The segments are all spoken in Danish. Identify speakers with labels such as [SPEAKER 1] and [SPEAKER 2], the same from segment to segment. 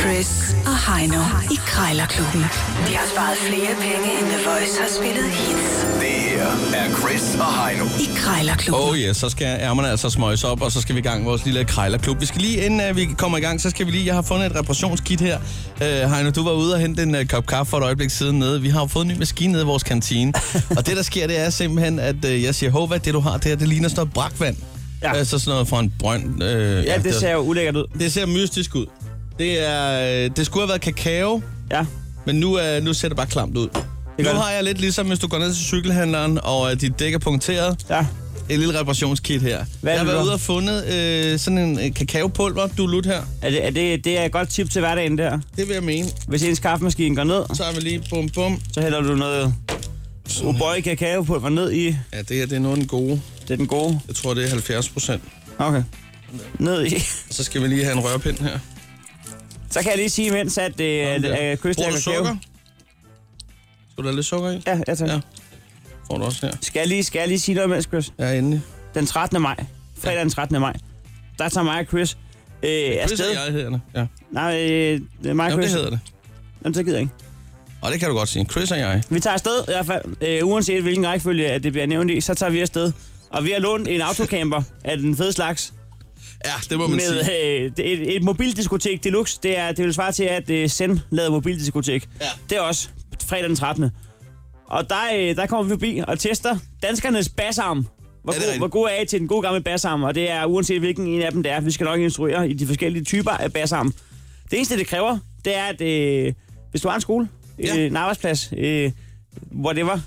[SPEAKER 1] Chris og Heino i Krejlerklubben. De har sparet flere penge, end The Voice har spillet hits
[SPEAKER 2] Det her er Chris og Heino.
[SPEAKER 1] i Krejlerklubben.
[SPEAKER 3] Oh yeah, så skal ærmerne altså smøjes op, og så skal vi i gang med vores lille krejlerklub. Vi skal lige, inden uh, vi kommer i gang, så skal vi lige, jeg har fundet et reparationskit her. Uh, Heino, du var ude og hente en uh, kop kaffe for et øjeblik siden nede. Vi har jo fået en ny maskine nede i vores kantine. og det, der sker, det er simpelthen, at uh, jeg siger, hov, hvad det, du har der, det ligner sådan noget brakvand. Ja.
[SPEAKER 4] Ja.
[SPEAKER 3] Altså sådan noget fra en brønd. Uh,
[SPEAKER 4] Ja, det ser jo ulækkert ud.
[SPEAKER 3] det ser mystisk ud. Det, er, øh, det skulle have været kakao,
[SPEAKER 4] Ja.
[SPEAKER 3] Men nu, øh, nu ser det bare klamt ud. Nu
[SPEAKER 4] gør det.
[SPEAKER 3] har jeg lidt ligesom, hvis du går ned til cykelhandleren, og øh, dit dæk er punkteret.
[SPEAKER 4] Ja.
[SPEAKER 3] Et lille reparationskit her.
[SPEAKER 4] Hvad er
[SPEAKER 3] jeg har
[SPEAKER 4] det, du
[SPEAKER 3] været
[SPEAKER 4] har?
[SPEAKER 3] ude og fundet øh, sådan en øh, kakaopulver, du lut her.
[SPEAKER 4] Er det, er det, det er et godt tip til hverdagen der.
[SPEAKER 3] Det vil jeg mene.
[SPEAKER 4] Hvis ens kaffemaskine går ned,
[SPEAKER 3] Så har vi lige bum bum.
[SPEAKER 4] så hælder du noget Ubøj kakaopulver ned i.
[SPEAKER 3] Ja, det her det er noget af den gode.
[SPEAKER 4] Det er den gode.
[SPEAKER 3] Jeg tror, det er 70 procent.
[SPEAKER 4] Okay. Ned i.
[SPEAKER 3] Så skal vi lige have en rørpind her.
[SPEAKER 4] Så kan jeg lige sige imens, at det er
[SPEAKER 3] Sådan der.
[SPEAKER 4] øh, Chris
[SPEAKER 3] Bruger
[SPEAKER 4] laver
[SPEAKER 3] du
[SPEAKER 4] kakao.
[SPEAKER 3] sukker? Skal du have lidt sukker i?
[SPEAKER 4] Ja, ja, tak.
[SPEAKER 3] Ja. Får du også her.
[SPEAKER 4] Skal, jeg lige, skal jeg lige sige noget imens, Chris?
[SPEAKER 3] Ja, endelig.
[SPEAKER 4] Den 13. maj. Fredag den 13. maj. Der tager mig og Chris øh,
[SPEAKER 3] Hvis
[SPEAKER 4] afsted.
[SPEAKER 3] jeg hedder det. Ja.
[SPEAKER 4] Nej, øh, det er mig
[SPEAKER 3] Jamen,
[SPEAKER 4] og
[SPEAKER 3] det
[SPEAKER 4] Chris.
[SPEAKER 3] hedder det.
[SPEAKER 4] Jamen, så gider jeg ikke.
[SPEAKER 3] Og det kan du godt sige. Chris og jeg.
[SPEAKER 4] Vi tager afsted, i hvert fald, øh, uanset hvilken rækkefølge at det bliver nævnt i, så tager vi afsted. Og vi har lånt en autocamper af den fede slags.
[SPEAKER 3] Ja, det må man
[SPEAKER 4] Med
[SPEAKER 3] sige.
[SPEAKER 4] øh, det- et, et mobildiskotek deluxe. Det, er, det vil svare til, at øh, Send lavede mobildiskotek.
[SPEAKER 3] Ja.
[SPEAKER 4] Det er også fredag den 13. Og der, øh, der kommer vi forbi og tester danskernes bassarm. Hvor,
[SPEAKER 3] Ja, det er
[SPEAKER 4] god,
[SPEAKER 3] rigtigt.
[SPEAKER 4] hvor god er I til den gode gamle bassarm? Og det er uanset hvilken en af dem det er. Vi skal nok instruere i de forskellige typer af bassarm. Det eneste, det kræver, det er, at øh, hvis du har en skole,
[SPEAKER 3] Ja.
[SPEAKER 4] ja. øh, en arbejdsplads, øh, whatever,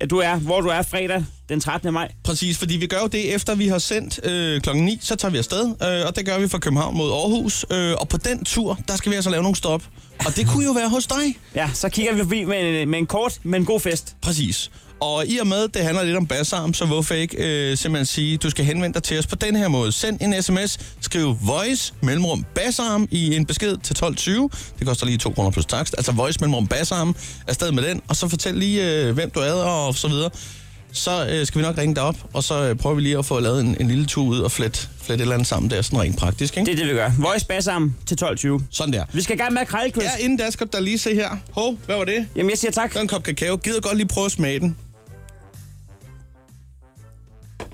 [SPEAKER 4] at du er, hvor du er fredag den 13. maj,
[SPEAKER 3] Præcis, fordi vi gør jo det, efter vi har sendt øh, klokken 9, så tager vi afsted, øh, og det gør vi fra København mod Aarhus. Øh, og på den tur, der skal vi altså lave nogle stop. Og det kunne jo være hos dig.
[SPEAKER 4] ja, så kigger vi forbi med en, øh, med en kort, men god fest.
[SPEAKER 3] Præcis. Og i og med, det handler lidt om bassarm, så hvorfor ikke øh, simpelthen sige, du skal henvende dig til os på den her måde. Send en sms, skriv voice, mellemrum, bassarm i en besked til 12.20. Det koster lige 2 kroner plus takst. Altså voice, mellemrum, bassarm. Afsted med den, og så fortæl lige, øh, hvem du er og så videre. Så øh, skal vi nok ringe dig op, og så øh, prøver vi lige at få lavet en, en lille tur ud og flette flet et eller andet sammen der, sådan rent praktisk, ikke?
[SPEAKER 4] Det
[SPEAKER 3] Det...
[SPEAKER 4] er det, vi gør. Voice bassarm til 12.20.
[SPEAKER 3] Sådan der.
[SPEAKER 4] Vi skal i gang med at krejle, Chris.
[SPEAKER 3] Ja, inden da skal du da lige se her. Hov, hvad var det?
[SPEAKER 4] Jamen, jeg siger tak.
[SPEAKER 3] Der er en kop kakao. Gider godt lige prøve at smage den.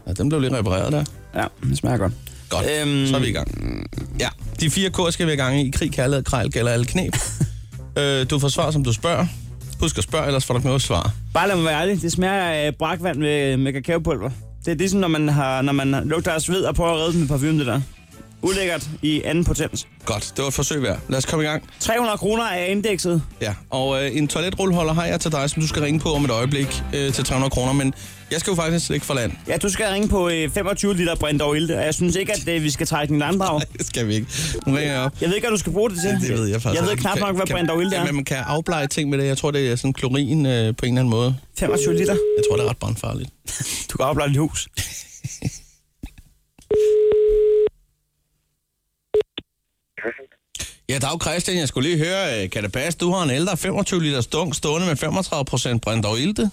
[SPEAKER 3] Ja, den blev lige repareret der.
[SPEAKER 4] Ja, det smager godt.
[SPEAKER 3] Godt, øhm...
[SPEAKER 4] Øhm.
[SPEAKER 3] så er vi i gang. Ja, de fire kår skal vi i gang i. Krig, kærlighed, krejl, gælder alle knep. øh, du får svar, som du spørger. Husk at spørge, ellers får du ikke noget svar.
[SPEAKER 4] Bare lad mig være ærlig. Det smager af brakvand med, med kakaopulver. Det er ligesom, når man, har, når man lugter af sved og prøver at redde den med parfume, det der. Ulækkert i anden potens.
[SPEAKER 3] Godt, det var et forsøg værd. Lad os komme i gang.
[SPEAKER 4] 300 kroner er indekset.
[SPEAKER 3] Ja, og øh, en toiletrulleholder har jeg til dig, som du skal ringe på om et øjeblik øh, til 300 kroner, men jeg skal jo faktisk ikke for land.
[SPEAKER 4] Ja, du skal ringe på øh, 25 liter brændt og ilte, og jeg synes ikke, at øh, vi skal trække en landdrag.
[SPEAKER 3] Det skal vi ikke. Nu ringer jeg op.
[SPEAKER 4] Jeg ved ikke, hvad du skal bruge det til.
[SPEAKER 3] Det ved jeg faktisk.
[SPEAKER 4] Jeg ved
[SPEAKER 3] ikke.
[SPEAKER 4] knap
[SPEAKER 3] Kan-
[SPEAKER 4] nok, hvad
[SPEAKER 3] kan-
[SPEAKER 4] brændt og ilte er.
[SPEAKER 3] Jamen, man kan afbleje ting med det. Jeg tror, det er sådan klorin øh, på en eller anden måde.
[SPEAKER 4] 25 liter.
[SPEAKER 3] Jeg tror, det er ret brandfarligt.
[SPEAKER 4] Du kan opblande dit hus.
[SPEAKER 3] Ja, dag Christian, jeg skulle lige høre, øh, kan det passe, du har en ældre 25 liters dunk stående med 35 procent brændt og ilte?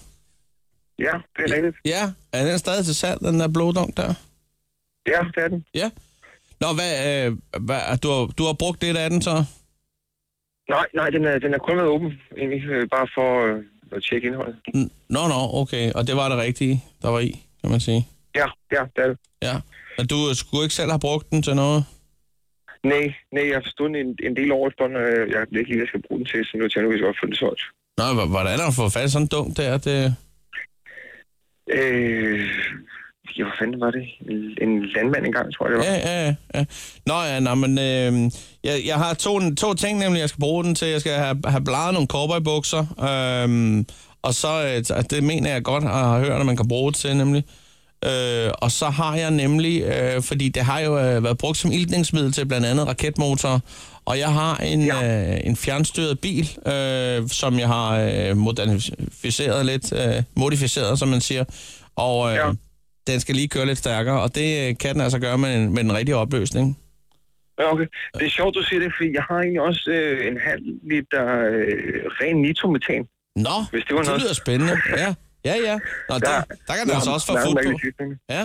[SPEAKER 5] Ja, det er rigtigt.
[SPEAKER 3] Ja, er den stadig til salg, den der blå dunk der?
[SPEAKER 5] Ja, det er den.
[SPEAKER 3] Ja. Nå, hvad, øh, hvad du, har, du har brugt lidt af den så?
[SPEAKER 5] Nej, nej, den er, den er kun været åben, egentlig, øh, bare for øh, at tjekke indholdet.
[SPEAKER 3] N- Nå, nå, okay, og det var det rigtige, der var i, kan man sige.
[SPEAKER 5] Ja, ja, det er det.
[SPEAKER 3] Ja, men du øh, skulle ikke selv have brugt den til noget?
[SPEAKER 5] Nej, nej, jeg har stået en, en del over efterhånden, og øh, jeg ved ikke lige, hvad jeg skal bruge den til, så nu tænker jeg, at vi skal opfylde det solgt.
[SPEAKER 3] Nå, h- hvordan har du fået fat i sådan en dunk der? Det...
[SPEAKER 5] Øh, ja, hvad fanden var det? En, en landmand engang, tror jeg, det var.
[SPEAKER 3] Ja, ja, ja, ja. Nå ja, nå, men øh, jeg, jeg har to, to ting nemlig, jeg skal bruge den til. Jeg skal have, have bladet nogle cowboybukser, øh, og så, øh, t- det mener jeg godt at have hørt, at man kan bruge det til nemlig. Øh, og så har jeg nemlig, øh, fordi det har jo øh, været brugt som iltningsmiddel til blandt andet raketmotorer, og jeg har en, ja. øh, en fjernstyret bil, øh, som jeg har øh, moderniseret lidt, øh, modificeret, som man siger. Og øh, ja
[SPEAKER 5] Ja.
[SPEAKER 3] den skal lige køre lidt stærkere, og det øh, kan den altså gøre med en, med en rigtig opløsning.
[SPEAKER 5] Ja, okay. Det er sjovt, du siger det, fordi jeg har egentlig også øh, en halv liter øh, ren nitrometan.
[SPEAKER 3] Nå,
[SPEAKER 5] Hvis det var
[SPEAKER 3] det
[SPEAKER 5] noget.
[SPEAKER 3] lyder spændende. Ja, Ja, ja. Nå, der, der, der kan den altså også få fod på. Ja, men
[SPEAKER 5] Ja.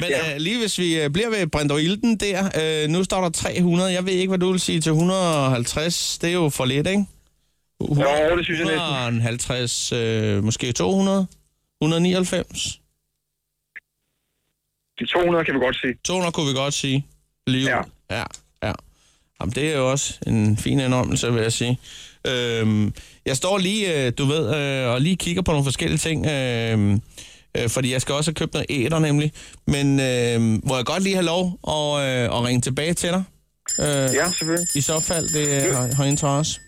[SPEAKER 3] ja. Øh, lige hvis vi øh, bliver ved Brindor Ilden der, øh, nu står der 300. Jeg ved ikke, hvad du vil sige til 150. Det er jo for lidt, ikke?
[SPEAKER 5] Jo, det synes jeg næsten.
[SPEAKER 3] 150, øh, måske 200, 199.
[SPEAKER 5] De 200 kan vi godt se.
[SPEAKER 3] 200 kunne vi godt sige. Lige
[SPEAKER 5] Ja.
[SPEAKER 3] ja. ja. Ja. Jamen, det er jo også en fin indrømmelse, vil jeg sige. Øhm, jeg står lige, øh, du ved, øh, og lige kigger på nogle forskellige ting, øh, øh, fordi jeg skal også have købt noget æder nemlig, men øh, må jeg godt lige have lov at, øh, at ringe tilbage til dig? Øh,
[SPEAKER 5] Ja, selvfølgelig.
[SPEAKER 3] I så fald, det øh, har- har interesse.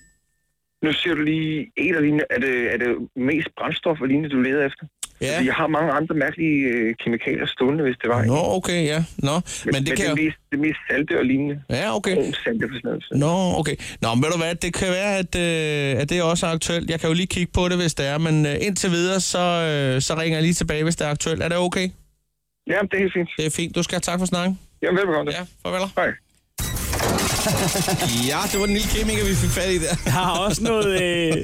[SPEAKER 5] Nu siger du lige et af dine, er det, er det mest brændstof og lignende, du leder efter?
[SPEAKER 3] Ja.
[SPEAKER 5] Fordi jeg har mange andre mærkelige øh, kemikalier stående, hvis det var.
[SPEAKER 3] Nå, okay, ja. Nå, men, men det kan...
[SPEAKER 5] det,
[SPEAKER 3] jo-
[SPEAKER 5] mest, det mest salte og lignende.
[SPEAKER 3] Ja, okay.
[SPEAKER 5] Brun salte for sådan noget.
[SPEAKER 3] Nå, okay. Nå, men ved du hvad, det kan være, at, øh, at det også er aktuelt. Jeg kan jo lige kigge på det, hvis det er, men øh, indtil videre, så, øh, så ringer jeg lige tilbage, hvis det er aktuelt. Er det okay?
[SPEAKER 5] Ja, det er helt fint.
[SPEAKER 3] Det er fint. Du skal have tak for snakken.
[SPEAKER 5] Jamen, velbekomme.
[SPEAKER 3] Ja, farvel.
[SPEAKER 5] Hej.
[SPEAKER 3] Ja, det var den lille kemiker, vi fik fat i der.
[SPEAKER 4] Jeg har også noget... Øh,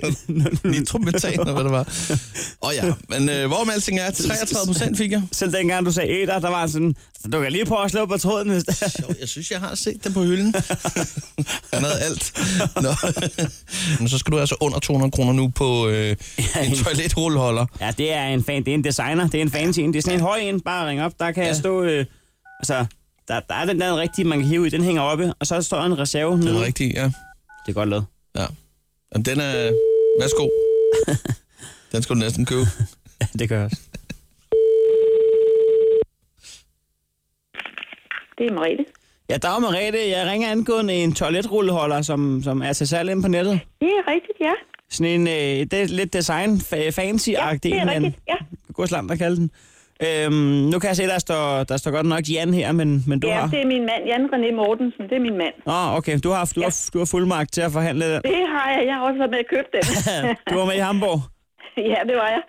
[SPEAKER 3] Nitrometan, eller hvad det var. Åh oh, ja, men øh, hvorom alting er, 33 procent fik jeg.
[SPEAKER 4] selv dengang du sagde æder, der var sådan... Du kan lige prøve at slå på tråden, hvis det
[SPEAKER 3] Jo, jeg synes, jeg har set den på hylden. Han havde alt. Nå. Men så skal du altså under 200 kroner nu på øh, en toiletrulleholder.
[SPEAKER 4] Ja, det er en fan, det er en designer, det er en fancy en, det er sådan en høj en, bare ring op, der kan ja. jeg stå, øh, altså, der, der er den der rigtige, man kan hive i, den hænger oppe, og så står der en reserve
[SPEAKER 3] Det er
[SPEAKER 4] nede.
[SPEAKER 3] rigtigt, ja.
[SPEAKER 4] Det er godt lavet.
[SPEAKER 3] Ja. Jamen, den er... Værsgo. Den skulle du næsten købe.
[SPEAKER 4] Ja, det gør jeg også.
[SPEAKER 6] Det er Merete.
[SPEAKER 4] Ja, der er Merete, jeg ringer angående en toiletrulleholder, som, som er til salg inde på nettet.
[SPEAKER 6] Det er rigtigt, ja.
[SPEAKER 4] Sådan en, øh, det er lidt design, fa- fancy-agtig.
[SPEAKER 6] det er
[SPEAKER 4] en, men-
[SPEAKER 6] rigtigt, ja.
[SPEAKER 4] God slam, der kalder den. Øhm, nu kan jeg se, der står, der står godt nok Jan her, men, men du
[SPEAKER 6] Ja,
[SPEAKER 4] har...
[SPEAKER 6] det er min mand, Jan René Mortensen. Det er min mand.
[SPEAKER 4] Nå, okay, du har, du,
[SPEAKER 6] Ja.
[SPEAKER 4] har, du har fuldmagt til at forhandle den.
[SPEAKER 6] Det har jeg. Jeg har også været med at købe den.
[SPEAKER 4] Du var med i Hamburg.
[SPEAKER 6] ja, det var jeg.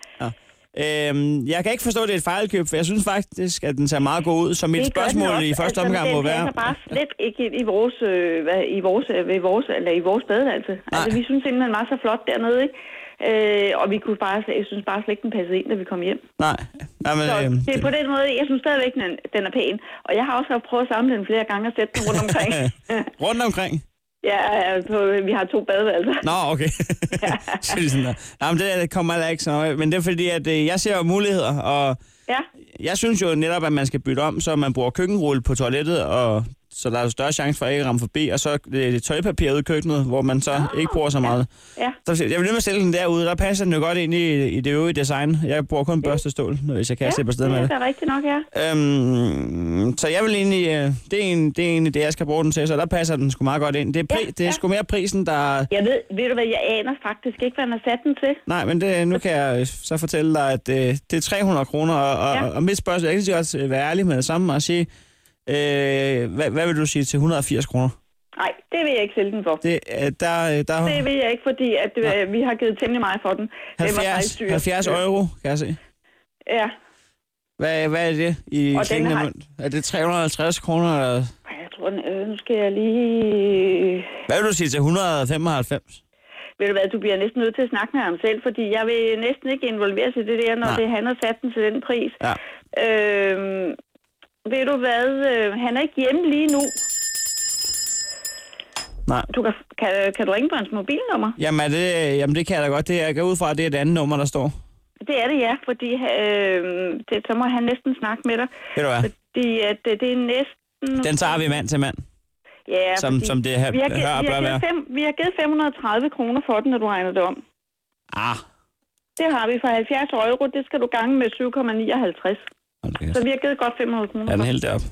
[SPEAKER 4] Øhm, jeg kan ikke forstå, at det er et fejlkøb, for jeg synes faktisk, at den ser meget god ud. Så mit
[SPEAKER 6] Det gør den
[SPEAKER 4] spørgsmål
[SPEAKER 6] også.
[SPEAKER 4] i første
[SPEAKER 6] altså, men
[SPEAKER 4] omgang må
[SPEAKER 6] den
[SPEAKER 4] være...
[SPEAKER 6] passer bare slet ikke ind i vores, øh, hvad, i vores, øh, ved vores, eller i vores badeværelse. Altså, vi synes simpelthen, den var så flot dernede, ikke? Øh, og vi kunne bare, slet- jeg synes bare slet ikke, den passede ind, da vi kom hjem.
[SPEAKER 4] Nej, nej men,
[SPEAKER 6] Så
[SPEAKER 4] øhm,
[SPEAKER 6] det er på den måde, jeg synes stadigvæk, den, den er pæn. Og jeg har også haft prøvet at samle den flere gange og sætte den rundt omkring.
[SPEAKER 4] rundt omkring.
[SPEAKER 6] ja, på, vi har to badeværelser.
[SPEAKER 4] Nå, okay. så er det sådan der. Nej, men det der kommer heller ikke så nøje. Men det er fordi, at øh, jeg ser jo muligheder, og
[SPEAKER 6] Ja,
[SPEAKER 4] jeg synes jo netop, at man skal bytte om, så man bruger køkkenrulle på toilettet, og så der er jo større chance for at ikke ramme forbi, og så øh, tøjpapir ude i køkkenet, hvor man så ikke bruger så meget.
[SPEAKER 6] Ah, ja.
[SPEAKER 4] Så Jeg vil nemlig stille den derude, der passer den jo godt ind i, i det øvrige design. Jeg bruger kun børstestål, hvis jeg kan ja, slippe afsted med
[SPEAKER 6] det
[SPEAKER 4] det.
[SPEAKER 6] er da rigtigt nok, ja.
[SPEAKER 4] Øhm, så jeg vil egentlig, øh, det, er en, det er egentlig det, jeg skal bruge den til, så der passer den sgu meget godt ind. Det er, pri,
[SPEAKER 6] Ja,
[SPEAKER 4] ja, det er
[SPEAKER 6] ja.
[SPEAKER 4] sgu mere prisen, der...
[SPEAKER 6] Jeg ved, ved du hvad, jeg aner faktisk ikke, hvad han har sat den til.
[SPEAKER 4] Nej, men det, nu kan jeg øh, så fortælle dig, at øh, det er 300 kroner, og, og,
[SPEAKER 6] Ja.
[SPEAKER 4] ja. og mit spørgsmål, jeg kan lige så godt øh, være ærlig med det samme og sige, øh, hvad, hvad vil du sige til 180 kroner?
[SPEAKER 6] Nej, det vil jeg ikke sælge den for.
[SPEAKER 4] Det, øh, der, øh, der
[SPEAKER 6] Det vil jeg ikke, fordi at, øh, vi har givet temmelig meget for den. Den var faktisk
[SPEAKER 4] 70,
[SPEAKER 6] dyr.
[SPEAKER 4] 70 euro, kan jeg se.
[SPEAKER 6] Ja,
[SPEAKER 4] Hvad, hvad er det i
[SPEAKER 6] Og den
[SPEAKER 4] klingende
[SPEAKER 6] har-
[SPEAKER 4] mønt? Er det 350 kroner? Eller?
[SPEAKER 6] Ej, jeg tror, den, øh, nu skal jeg lige...
[SPEAKER 4] Hvad vil du sige til 195?
[SPEAKER 6] Ved du hvad, du bliver næsten nødt til at snakke med ham selv, fordi jeg vil næsten ikke involveres i det der, når
[SPEAKER 4] Nej.
[SPEAKER 6] Nej. det er han har sat den til den pris.
[SPEAKER 4] Ja.
[SPEAKER 6] Øhm, ved du hvad, øh, han er ikke hjemme lige nu.
[SPEAKER 4] Nej.
[SPEAKER 6] Du kan, kan, kan du ringe på hans mobilnummer?
[SPEAKER 4] Jamen, er det, jamen, det kan jeg da godt. Det, jeg går ud fra, at det er et andet nummer, der står.
[SPEAKER 6] Det er det, ja, fordi øh, det, så må han næsten snakke med dig.
[SPEAKER 4] Ved du hvad?
[SPEAKER 6] Fordi at øh, det, det er næsten...
[SPEAKER 4] Den tager vi mand til mand.
[SPEAKER 6] ja,
[SPEAKER 4] som-
[SPEAKER 6] fordi
[SPEAKER 4] som det her-
[SPEAKER 6] vi har,
[SPEAKER 4] her
[SPEAKER 6] givet, vi,
[SPEAKER 4] bør
[SPEAKER 6] har
[SPEAKER 4] være.
[SPEAKER 6] givet fem, vi har givet 530 kroner for den, når du regner det om.
[SPEAKER 4] Ah,
[SPEAKER 6] Det har vi for 70 euro. Det skal du gange med 7,59.
[SPEAKER 4] hold da kæft.
[SPEAKER 6] Så vi har givet godt 500 kroner.
[SPEAKER 4] er
[SPEAKER 6] for
[SPEAKER 4] den helt deroppe.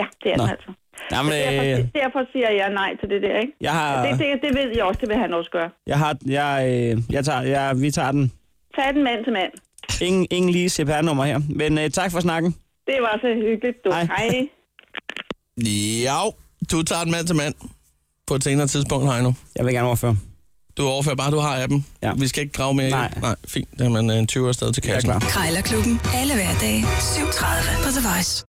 [SPEAKER 6] Ja, det er
[SPEAKER 4] Nå.
[SPEAKER 6] den altså.
[SPEAKER 4] Jamen,
[SPEAKER 6] Derfor,
[SPEAKER 4] øh, Ah.
[SPEAKER 6] derfor siger jeg nej til det der, ikke?
[SPEAKER 4] jeg har,
[SPEAKER 6] Det, det, det ved jeg også, det vil han også gøre.
[SPEAKER 4] jeg har, jeg, øh, jeg tager, jeg, vi tager den.
[SPEAKER 6] Tag den mand til mand.
[SPEAKER 4] Ingen, ingen lige CPR-nummer her. Men øh, tak for snakken.
[SPEAKER 6] Det var så hyggeligt, du.
[SPEAKER 4] Hej.
[SPEAKER 6] Hej. Hej.
[SPEAKER 3] Ja, du tager den mand til mand på et senere tidspunkt, Heino.
[SPEAKER 4] Jeg vil gerne overføre.
[SPEAKER 3] Du overfører bare, du har appen.
[SPEAKER 4] Ja.
[SPEAKER 3] Vi skal ikke grave mere i det.
[SPEAKER 4] Nej.
[SPEAKER 3] Nej, fint. Det er man øh, en 20 afsted til
[SPEAKER 4] Jeg er
[SPEAKER 3] kassen.
[SPEAKER 4] klar.
[SPEAKER 1] Krejlerklubben. Alle hverdage 7.30 på The Voice.